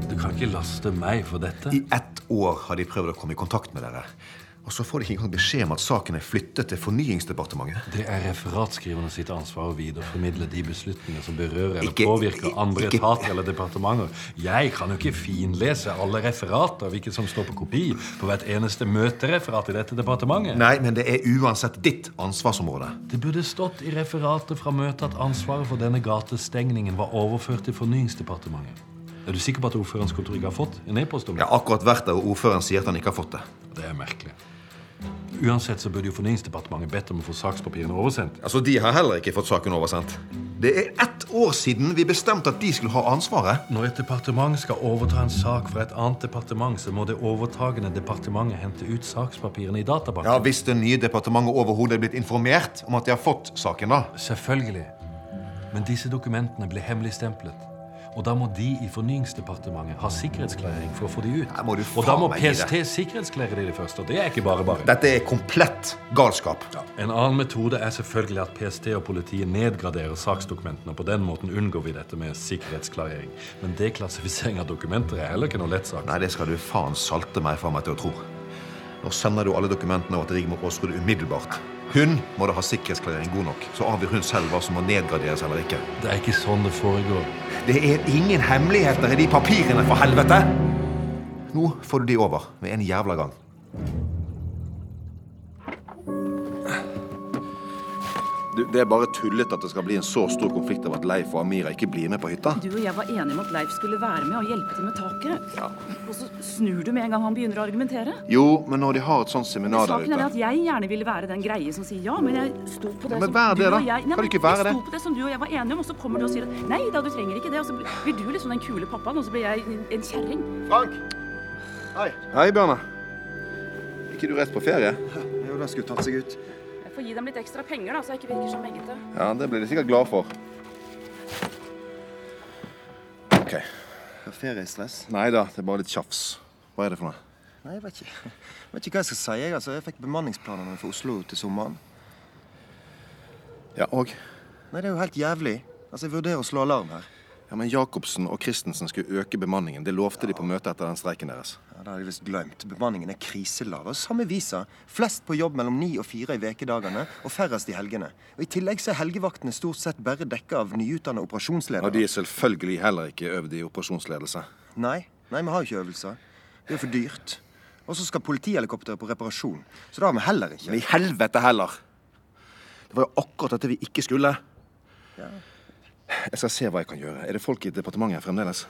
Du kan ikke laste meg for dette. I ett år har de prøvd å komme i kontakt med dere. Og så får de ikke engang beskjed om at saken er flyttet til Fornyingsdepartementet.
Det er referatskriverne sitt ansvar å videreformidle de beslutninger som berører eller
Ikke-
påvirker andre
ikke-
etater eller departementer. Jeg kan jo ikke finlese alle referater, hvilket som står på kopi, på hvert eneste møtereferat i dette departementet.
Nei, men det er uansett ditt ansvarsområde.
Det burde stått i referatet fra møtet at ansvaret for denne gatestengningen var overført til Fornyingsdepartementet. Er du sikker på at ordførerens kontor ikke har fått en e-post om det?
Jeg har akkurat vært der, og ordføreren sier at han ikke har fått det.
Det er merkelig. Uansett så burde jo Fornyingsdepartementet bedt om å få sakspapirene oversendt.
Altså, De har heller ikke fått saken oversendt. Det er ett år siden vi bestemte at de skulle ha ansvaret.
Når et departement skal overta en sak fra et annet departement, så må det overtagende departementet hente ut sakspapirene i databanken.
Ja, Hvis det nye departementet overhodet er blitt informert om at de har fått saken, da.
Selvfølgelig. Men disse dokumentene ble hemmeligstemplet. Og da må de i Fornyingsdepartementet ha sikkerhetsklarering for å få de ut. og da
faen
må
meg gi deg.
PST sikkerhetsklære de først, og det er ikke bare bare.
Dette er komplett galskap.
En annen metode er selvfølgelig at PST og politiet nedgraderer saksdokumentene. og På den måten unngår vi dette med sikkerhetsklarering. Men deklassifisering av dokumenter er heller ikke noe lett sak.
Nei, det skal du faen salte meg fra meg til å tro. Nå sender du alle dokumentene over til Rigmor Aasrud umiddelbart. Hun må da ha sikkerhetsklarering god nok, så avgjør hun selv hva som må nedgraderes eller ikke.
Det er ikke sånn det foregår.
Det er ingen hemmeligheter i de papirene, for helvete! Nå får du de over med en jævla gang.
Du, det er bare tullete at det skal bli en så stor konflikt av at Leif og Amira ikke blir med på hytta.
Du og jeg var enige om at Leif skulle være med og hjelpe til med taket. Og så snur du med en gang han begynner å argumentere.
Jo, men når de har et sånt seminar der
Saken er
ute
at jeg gjerne ville være den greie som sier ja, men jeg sto på det
Ja, men
som
vær det,
du
da.
og jeg...
Kan du
men
ikke være
Jeg
det?
sto på det som du og jeg var enige om, og så kommer du og sier at nei da, du trenger ikke det. Og så blir- blir du liksom den kule pappaen, og så blir jeg en kjerring.
Frank! Hei, Bjarne. Ikke du rett på ferie?
Jo, den skulle tatt seg ut.
Jeg får gi dem litt ekstra penger, da, så jeg ikke virker så mengete.
Ja, det blir de sikkert glad for. Ok.
Feriestress?
Nei da, det er bare litt tjafs. Hva er det for noe?
Nei, jeg vet ikke. Jeg vet ikke hva jeg skal si. Jeg, altså, jeg fikk bemanningsplanene for Oslo til sommeren.
Ja, og?
Nei, det er jo helt jævlig. Altså, Jeg vurderer å slå alarm her.
Ja, men Jacobsen og Christensen skulle øke bemanningen. Det lovte de på møtet etter den streiken deres.
Ja, Det hadde jeg visst glemt. Bemanningen er kriselav. Og samme visa. Flest på jobb mellom ni og fire i vekedagene, og færrest i helgene. Og I tillegg så er helgevaktene stort sett bare dekka av nyutdanna
Og
operasjonsledere.
de er selvfølgelig heller ikke øvd i operasjonsledelse.
Nei, nei, vi har jo ikke øvelser. Det er jo for dyrt. Og så skal politihelikopteret på reparasjon. Så det har vi heller ikke.
Men i helvete heller! Det var jo akkurat dette vi ikke skulle. Jeg skal se hva jeg kan gjøre. Er det folk i departementet her fremdeles?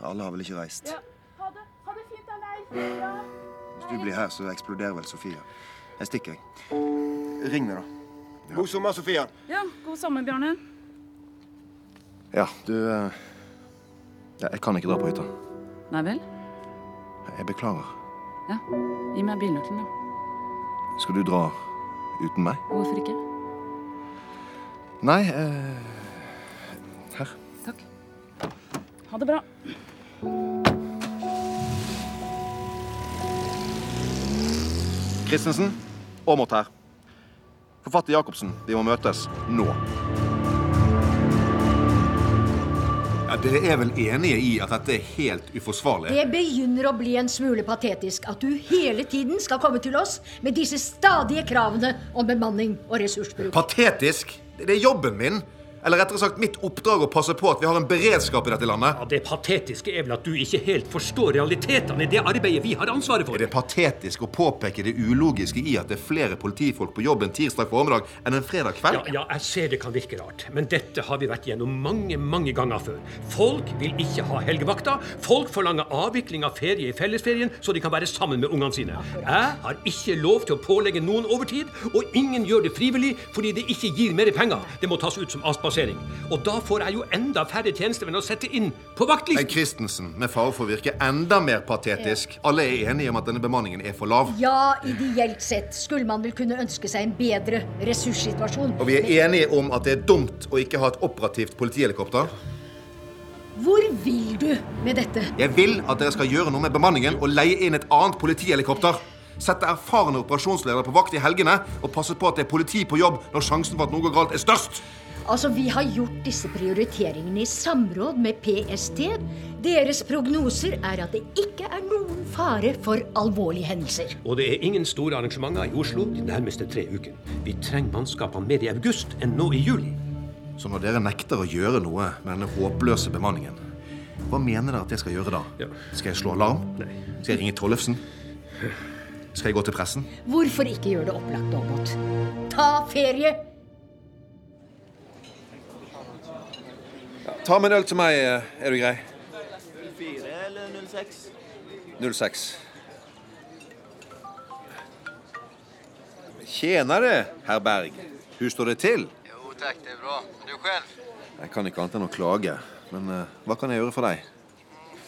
Alle har vel ikke reist.
Ha det fint, Leif. Ja.
Hvis du blir her, så eksploderer vel Sofia. Jeg stikker, jeg. Ring meg, da. God sommer, Sofia.
Ja, god sommer, Bjarne.
Ja, du eh, ja, Jeg kan ikke dra på hytta.
Nei vel?
Jeg beklager.
Ja. Gi meg bilnøkkelen, da.
Skal du dra uten meg?
Hvorfor ikke?
Nei eh, Her.
Ha det bra.
Christensen, Aamodt her. Forfatter Jacobsen, vi må møtes nå.
Ja, Dere er vel enige i at dette er helt uforsvarlig?
Det begynner å bli en smule patetisk at du hele tiden skal komme til oss med disse stadige kravene om bemanning og ressursbruk.
Patetisk! Det er jobben min! Eller rettere sagt mitt oppdrag å passe på at vi har en beredskap i dette landet.
Ja, Det patetiske er vel at du ikke helt forstår realitetene i det arbeidet vi har ansvaret for.
Er det patetisk å påpeke det ulogiske i at det er flere politifolk på jobb en tirsdag formiddag enn en fredag kveld?
Ja, ja, jeg ser det kan virke rart, men dette har vi vært gjennom mange mange ganger før. Folk vil ikke ha helgevakta. Folk forlanger avvikling av ferie i fellesferien, så de kan være sammen med ungene sine. Jeg har ikke lov til å pålegge noen overtid, og ingen gjør det frivillig fordi det ikke gir mer penger. Det må tas ut som avspasering. Og da får jeg jo enda færre tjenestemenn å sette inn på vaktlisten.
Men Christensen, med fare for å virke enda mer patetisk, alle er enige om at denne bemanningen er for lav.
Ja, ideelt sett skulle man vel kunne ønske seg en bedre ressurssituasjon.
Og vi er enige om at det er dumt å ikke ha et operativt politihelikopter.
Hvor vil du med dette?
Jeg vil at dere skal gjøre noe med bemanningen og leie inn et annet politihelikopter. Sette erfarne operasjonsledere på vakt i helgene og passe på at det er politi på jobb når sjansen for at noe går galt, er størst.
Altså, Vi har gjort disse prioriteringene i samråd med PST. Deres prognoser er at det ikke er noen fare for alvorlige hendelser.
Og det er ingen store arrangementer i Oslo de nærmeste tre ukene. Vi trenger mannskapene mer i august enn nå i juli.
Så når dere nekter å gjøre noe med denne håpløse bemanningen, hva mener dere at jeg skal gjøre da? Skal jeg slå alarm? Skal jeg ringe Tollefsen? Skal jeg gå til pressen?
Hvorfor ikke gjøre det opplagt, Aamodt? Ta ferie!
Ta med en øl til meg, eh, er du grei.
04 eller 06?
06. Tjener det, herr Berg. Hvordan står det til?
Jo,
Oh, tack, det är bra. Du själv?
Jeg kan ikke annet enn å klage. Men eh, hva kan jeg gjøre for deg?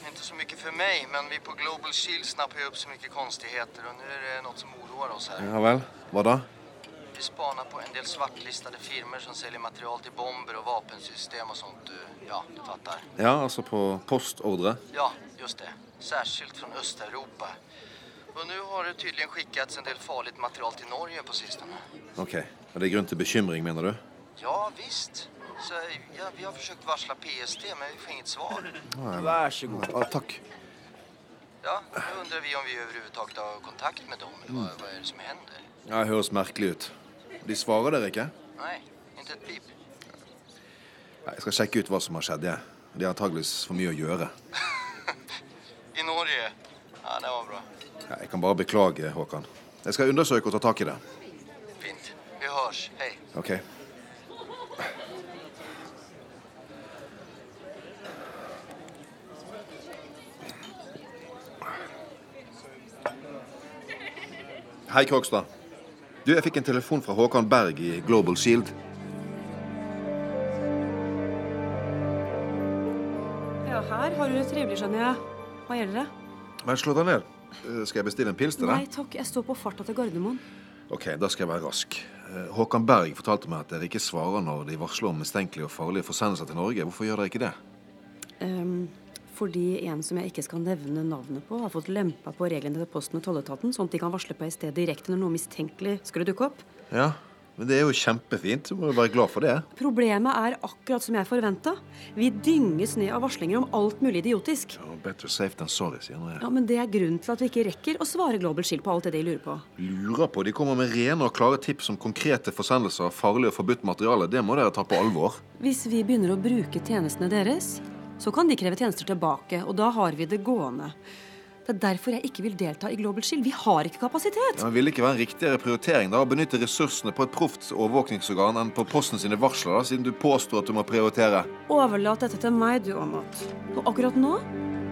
Inte så mycket för mig, men vi på Global Shield snappar ju upp så mycket konstigheter och nu är det något som oroar oss här.
Ja vel, hva da?
Vi spanar på en del svartlistade firmor som säljer material till bomber och vapensystem och sånt du, ja, du fattar.
Ja, altså på postordre.
Ja, just det. Särskilt från Östeuropa. Och nu har det tydligen skickats en del farligt material till Norge på sistone.
Ok, og det er grunn til bekymring, mener du?
Ja, visst. Så, ja, vi har försökt varsla PST, men vi får inget svar.
Vær så god. Ja, takk.
Ja, nu undrar vi om vi överhuvudtaget har kontakt med dem, eller vad, vad är det som händer?
Ja, det høres merkelig ut. De svarer dere ikke?
Nej, inte ett pip.
Nei, Jeg skal sjekke ut hva som har skjedd. jeg. De har antageligvis for mye å gjøre.
I Norge? Ja, det var bra.
Ja, Jeg kan bare beklage, Håkan. Jeg skal undersøke og ta tak i det.
Fint. Vi hörs. Hej.
Ok. Hei, Krogstad. Du, jeg fikk en telefon fra Håkan Berg i Global Shield.
Ja, her har du det trivelig, skjønner jeg. Hva gjelder det?
Men slå deg ned. Eh, Skal jeg bestille en pils til
Nei
deg?
takk, jeg står på farta til Gardermoen.
Ok, da skal jeg være rask. Eh, Håkan Berg fortalte meg at dere ikke svarer når de varsler om mistenkelige og farlige forsendelser til Norge. Hvorfor gjør dere ikke det?
Ehm, fordi en som jeg ikke skal nevne navnet på, har fått lempa på reglene til Posten og tolletaten, sånn at de kan varsle på PST direkte når noe mistenkelig skulle dukke opp.
Ja, men det er jo kjempefint. Du må jo være glad for det.
Problemet er akkurat som jeg forventa. Vi dynges ned av varslinger om alt mulig idiotisk.
Ja, Better safe than sorry, sier nå jeg.
Ja, Men det er grunnen til at vi ikke rekker å svare Global Shield på alt det de lurer på.
Lurer på, De kommer med rene og klare tips om konkrete forsendelser av farlig og forbudt materiale. Det må dere ta på alvor.
Hvis vi begynner å bruke tjenestene deres, så kan de kreve tjenester tilbake, og da har vi det gående. Det er derfor jeg ikke vil delta i Global Shield. Vi har ikke kapasitet.
Ja, men Ville det ikke være en riktigere prioritering da, å benytte ressursene på et proft overvåkningsorgan enn på Posten sine varsler, da, siden du påstår at du må prioritere?
Overlat dette til meg, du, Åmot. Og akkurat nå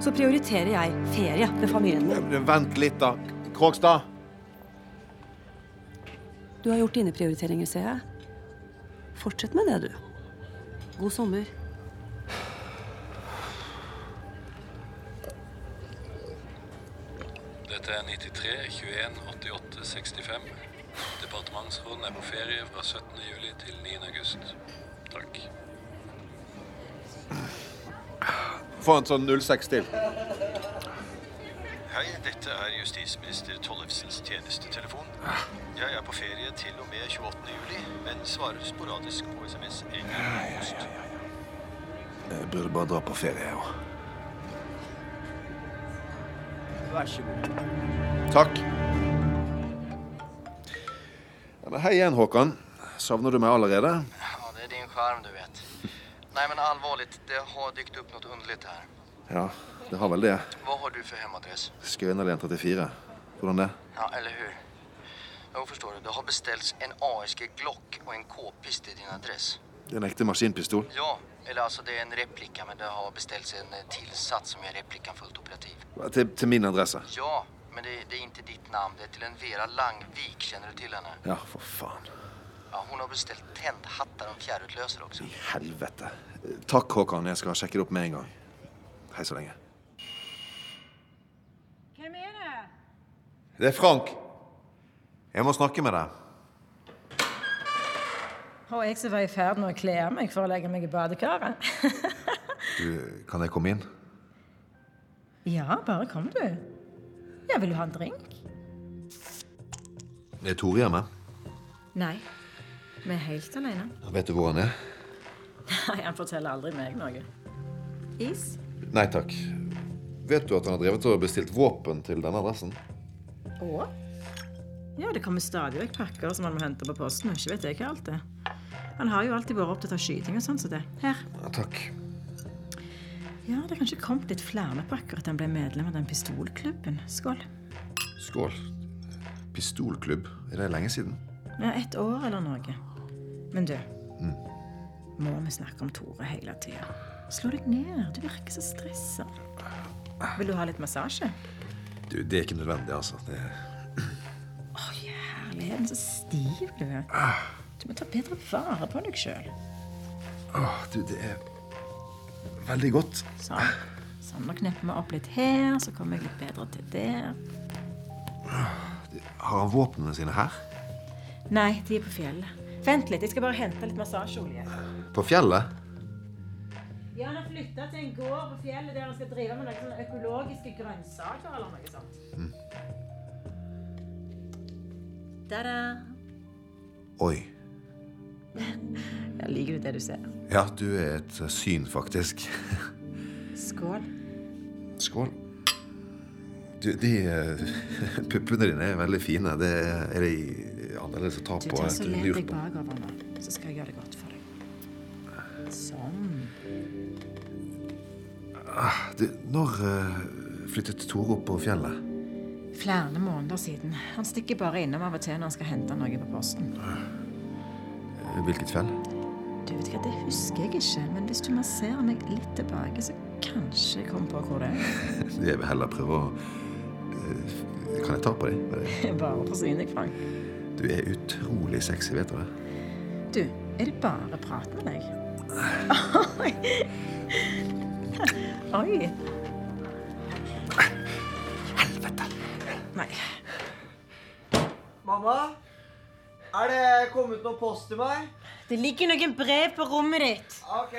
så prioriterer jeg ferie med familien min.
Men Vent litt, da. Krogstad?
Du har gjort dine prioriteringer, ser jeg. Fortsett med det, du. God sommer.
Dette er 93 21 88 65. Departementsråden er på ferie fra 17. juli til 9. august. Takk.
Få en sånn 06 til.
Hei, dette er justisminister Tollefsens tjenestetelefon. Jeg er på ferie til og med 28. juli, men svarer sporadisk på SMS en gang i august.
Jeg burde bare dra på ferie, jeg òg.
Vær så god.
Takk. Ja, men hei igjen, Håkan. Savner du meg allerede?
Ja, det är din charm, du vet. Nej, men allvarligt, det har dykt upp något underligt här.
Ja, det har vel det.
Vad har du för hemadress?
Skøyenalén 34. Hvordan det?
Ja, eller hur? Jo, förstår du. Det har beställts en ASG Glock och en k-pist i din adress.
Det er en ekte maskinpistol.
Ja, eller alltså det är en replika, men det har beställts en eh, tillsats som gör replikan fullt operativ.
Til, til min adresse.
Ja, men det, det är inte ditt namn. Det är till en Vera Langvik. Känner du till henne?
Ja, for faen.
Ja, hon har beställt tändhattar och fjärrutlösare också.
Helvete. Takk, Håkan. Jeg skal sjekke det opp med en gang. Hei så lenge.
Hvem er det?
Det er Frank. Jeg må snakke med deg.
Og jeg som var i ferd med å kle av meg for å legge meg i badekaret.
Du, kan jeg komme inn?
Ja, bare kom du. Ja, vil du ha en drink?
Er Tore hjemme?
Nei, vi er helt alene.
Vet du hvor han er?
Nei, han forteller aldri meg noe. Is?
Nei takk. Vet du at han har drevet og bestilt våpen til denne adressen?
Og? Ja, det kommer stadig vekk pakker som han må hente på posten. og Ikke vet jeg hva alt er. Han har jo alltid vært opptatt av skyting og sånn som det. Her.
Ja, takk.
Ja, det er kanskje kommet litt flere pakker etter han ble medlem av den pistolklubben. Skål.
Skål. Pistolklubb. Er det lenge siden?
Ja, et år eller noe. Men du,
Mm.
må vi snakke om Tore hele tida? Slå deg ned. Du virker så stressa. Vil du ha litt massasje?
Du, det er ikke nødvendig, altså. Det...
Herligheten, så stiv du er. Du må ta bedre vare på deg sjøl.
Åh, du, det er veldig godt. Eh,
Sånn. Sånn, nå knepper vi opp litt her, så kommer jeg litt bedre til der.
Har han våpnene sine her?
Nei, de er på fjellet. Vent litt, jeg skal bare hente litt massasjeolje.
På fjellet?
Ja, han har flytta til en gård på fjellet der han skal drive med noen sånne økologiske grønnsaker eller noe sånt. Ta-da!
Oi.
Jeg liker du det du ser.
Ja, du er et syn, faktisk.
Skål.
Skål. Du, de eh, puppene dine er veldig fine. Det er- er de annerledes å ta
Du
på.
tar så
etter
len
lurt
deg
nå.
bakover nå, så skal jeg gjøre det godt for deg. Sånn.
Ah, du, når eh, flyttet Tore opp på fjellet?
Flere måneder siden. Han stikker bare innom av og til når han skal hente noe på posten.
Eh, Hvilket fjell?
Du vet hva, Det husker jeg ikke, men hvis du masserer meg litt tilbake, så kanskje jeg kommer på hvor det er.
Jeg vil heller prøve å eh, Kan jeg ta på dem?
Bare forsyn deg, Frank.
Du er utrolig sexy, vet du det?
Du, er det bare prat med deg? Oi! Oi. Helvete! Nei.
Mamma? Er det kommet noe post til meg?
Det ligger noen brev på rommet ditt.
Ok.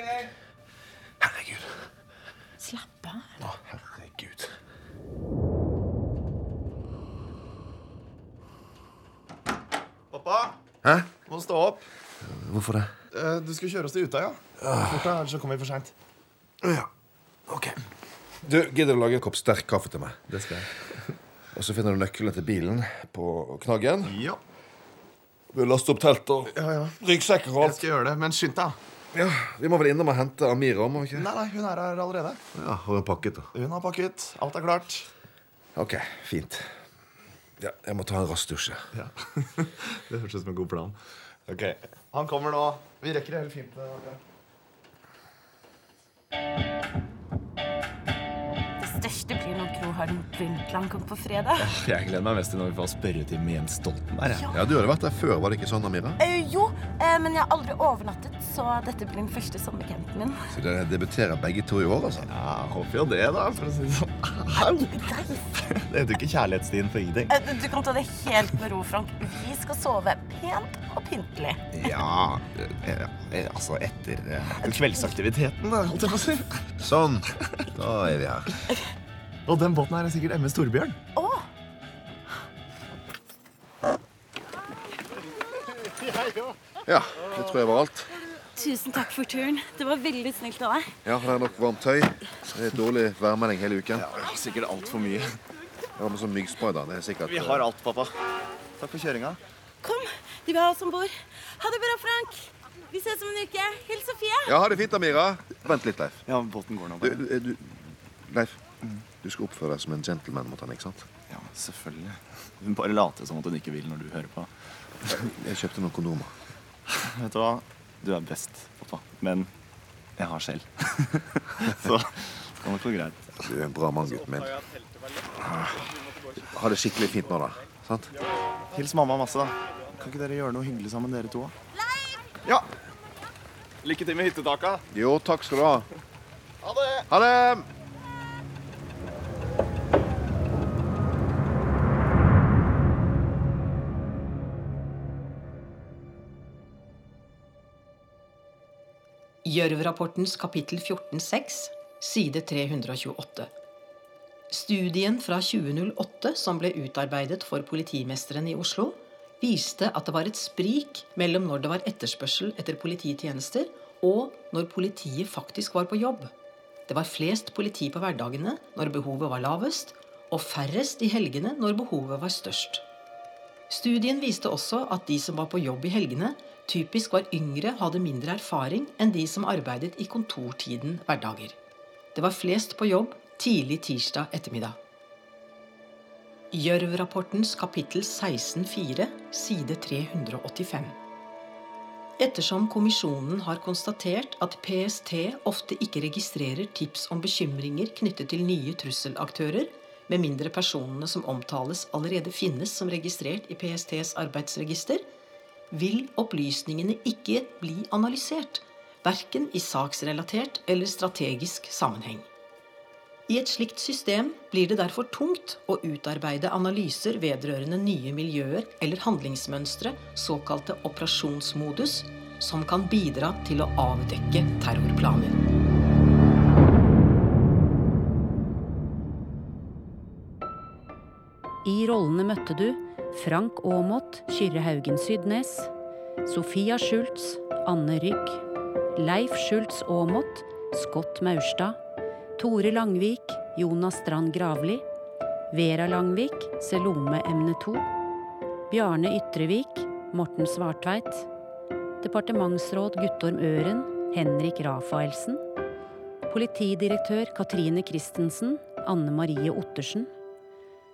Slapp av.
Å, herregud.
Pappa,
Hæ?
du må stå opp.
Hvorfor det? Ah.
Eh, Du skal kjøre oss til Utøya. Fort deg, ellers så kommer vi for seint.
Du, gidder du lage en kopp sterk kaffe til meg? Det skal jeg. Og så finner du nøkkelen til bilen på knaggen.
Ja.
Du laster opp telt og
Ja, ja.
ryggsekker og alt.
Jeg skal gjøre det, men skynd deg.
Ja, Vi må vel innom og hente Amira om? må vi ikke?
Nei, nei, hun er her allerede.
Ja, Har hun pakket, da?
Hun har pakket. Alt er klart.
Ok, fint. Ja, jeg må ta en rask dusj. Ja.
Det høres ut som en god plan. Ok. Han kommer nå. Vi rekker det helt fint. eh,
Det største blir når Gro har en Brundtland kom på fredag.
Jeg gleder meg mest til når vi får spørretime med Jens Stoltenberg. Ja. du hadde vært der før, var det ikke sånn, Amira?
Eh, jo, eh, men jeg har aldri overnattet, så dette blir den første sommercampen min.
Så dere debuterer begge to i år, altså? Ja, håper jo det, da. for å si det sånn.
Au! Deg!
Det heter jo ikke kjærlighetsstien for ingenting.
Eh, Du kan ta det helt med ro, Frank. Vi skal sove pent og pyntelig.
Ja eh, eh, Altså, etter eh, kveldsaktiviteten, da, holdt jeg på å si.
Sånn. Da er vi her.
Og den båten her er sikkert MS Storbjørn.
Ja, det tror jeg var alt.
Tusen takk for turen. Det var veldig snilt av deg.
Ja, for det er nok varmt tøy. Det er dårlig værmelding hele uken. Ja, Sikkert altfor mye. Ja, men sånn myggspray, da. Det er sikkert
Vi har alt, pappa. Takk for kjøringa.
Kom, de vil ha oss om bord. Ha det bra, Frank. Vi ses om en uke. Hils Sofie.
Ja, ha det fint, Amira. Vent litt, Leif.
Ja, båten går nå
Du, du, du, Leif, du skal oppføre deg som en gentleman mot han, ikke sant?
Ja, selvfølgelig. Hun bare later som at hun ikke vil når du hører på.
Jeg kjøpte noen kondomer.
Vet du hva? Du er best, pappa. Men jeg har selv. Så det kan nok gå greit.
Du er en bra mann, gutten min. Ha det skikkelig fint nå, da. Sant?
Hils mamma masse, da. Kan ikke dere gjøre noe hyggelig sammen, dere to? Ja! Lykke til med hyttetaka.
Jo, takk skal du ha.
Ha det!
Ha det!
Gjørv-rapportens kapittel 14.6, side 328. Studien fra 2008 som ble utarbeidet for politimesteren i Oslo, viste at det var et sprik mellom når det var etterspørsel etter polititjenester, og når politiet faktisk var på jobb. Det var flest politi på hverdagene når behovet var lavest, og færrest i helgene når behovet var størst. Studien viste også at de som var på jobb i helgene, typisk var yngre, hadde mindre erfaring enn de som arbeidet i kontortiden hverdager. Det var flest på jobb tidlig tirsdag ettermiddag. Gjørv-rapportens kapittel 16.4, side 385. Ettersom kommisjonen har konstatert at PST ofte ikke registrerer tips om bekymringer knyttet til nye trusselaktører, med mindre personene som omtales, allerede finnes som registrert i PSTs arbeidsregister, vil opplysningene ikke bli analysert, verken i saksrelatert eller strategisk sammenheng. I et slikt system blir det derfor tungt å utarbeide analyser vedrørende nye miljøer eller handlingsmønstre, såkalte operasjonsmodus, som kan bidra til å avdekke terrorplaner.
I rollene møtte du Frank Aamodt, Kyrre Haugen Sydnes, Sofia Schultz, Anne Rygg, Leif Schultz Aamodt, Scott Maurstad, Tore Langvik, Jonas Strand Gravli, Vera Langvik, Selome Emne 2, Bjarne Ytrevik, Morten Svartveit, departementsråd Guttorm Øren, Henrik Rafaelsen, politidirektør Katrine Christensen, Anne Marie Ottersen,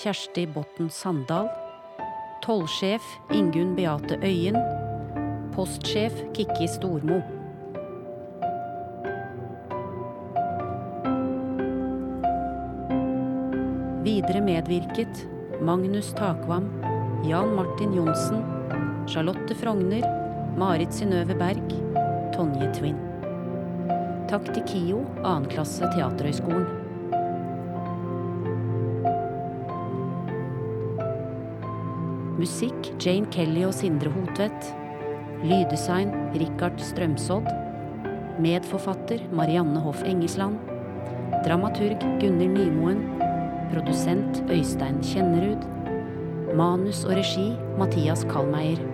Kjersti Botten Sandal, tollsjef Ingunn Beate Øyen, postsjef Kikki Stormo. Videre medvirket Magnus Takvam, Jan Martin Johnsen, Charlotte Frogner, Marit Synnøve Berg, Tonje Twin. Takk til KIO, 2. klasse Teaterhøgskolen. Musikk Jane Kelly og Sindre Hotvedt. Lyddesign Richard Strømsodd. Medforfatter Marianne Hoff Engesland. Dramaturg Gunhild Nymoen. Produsent Øystein Kjennerud. Manus og regi Mathias Kallmeier.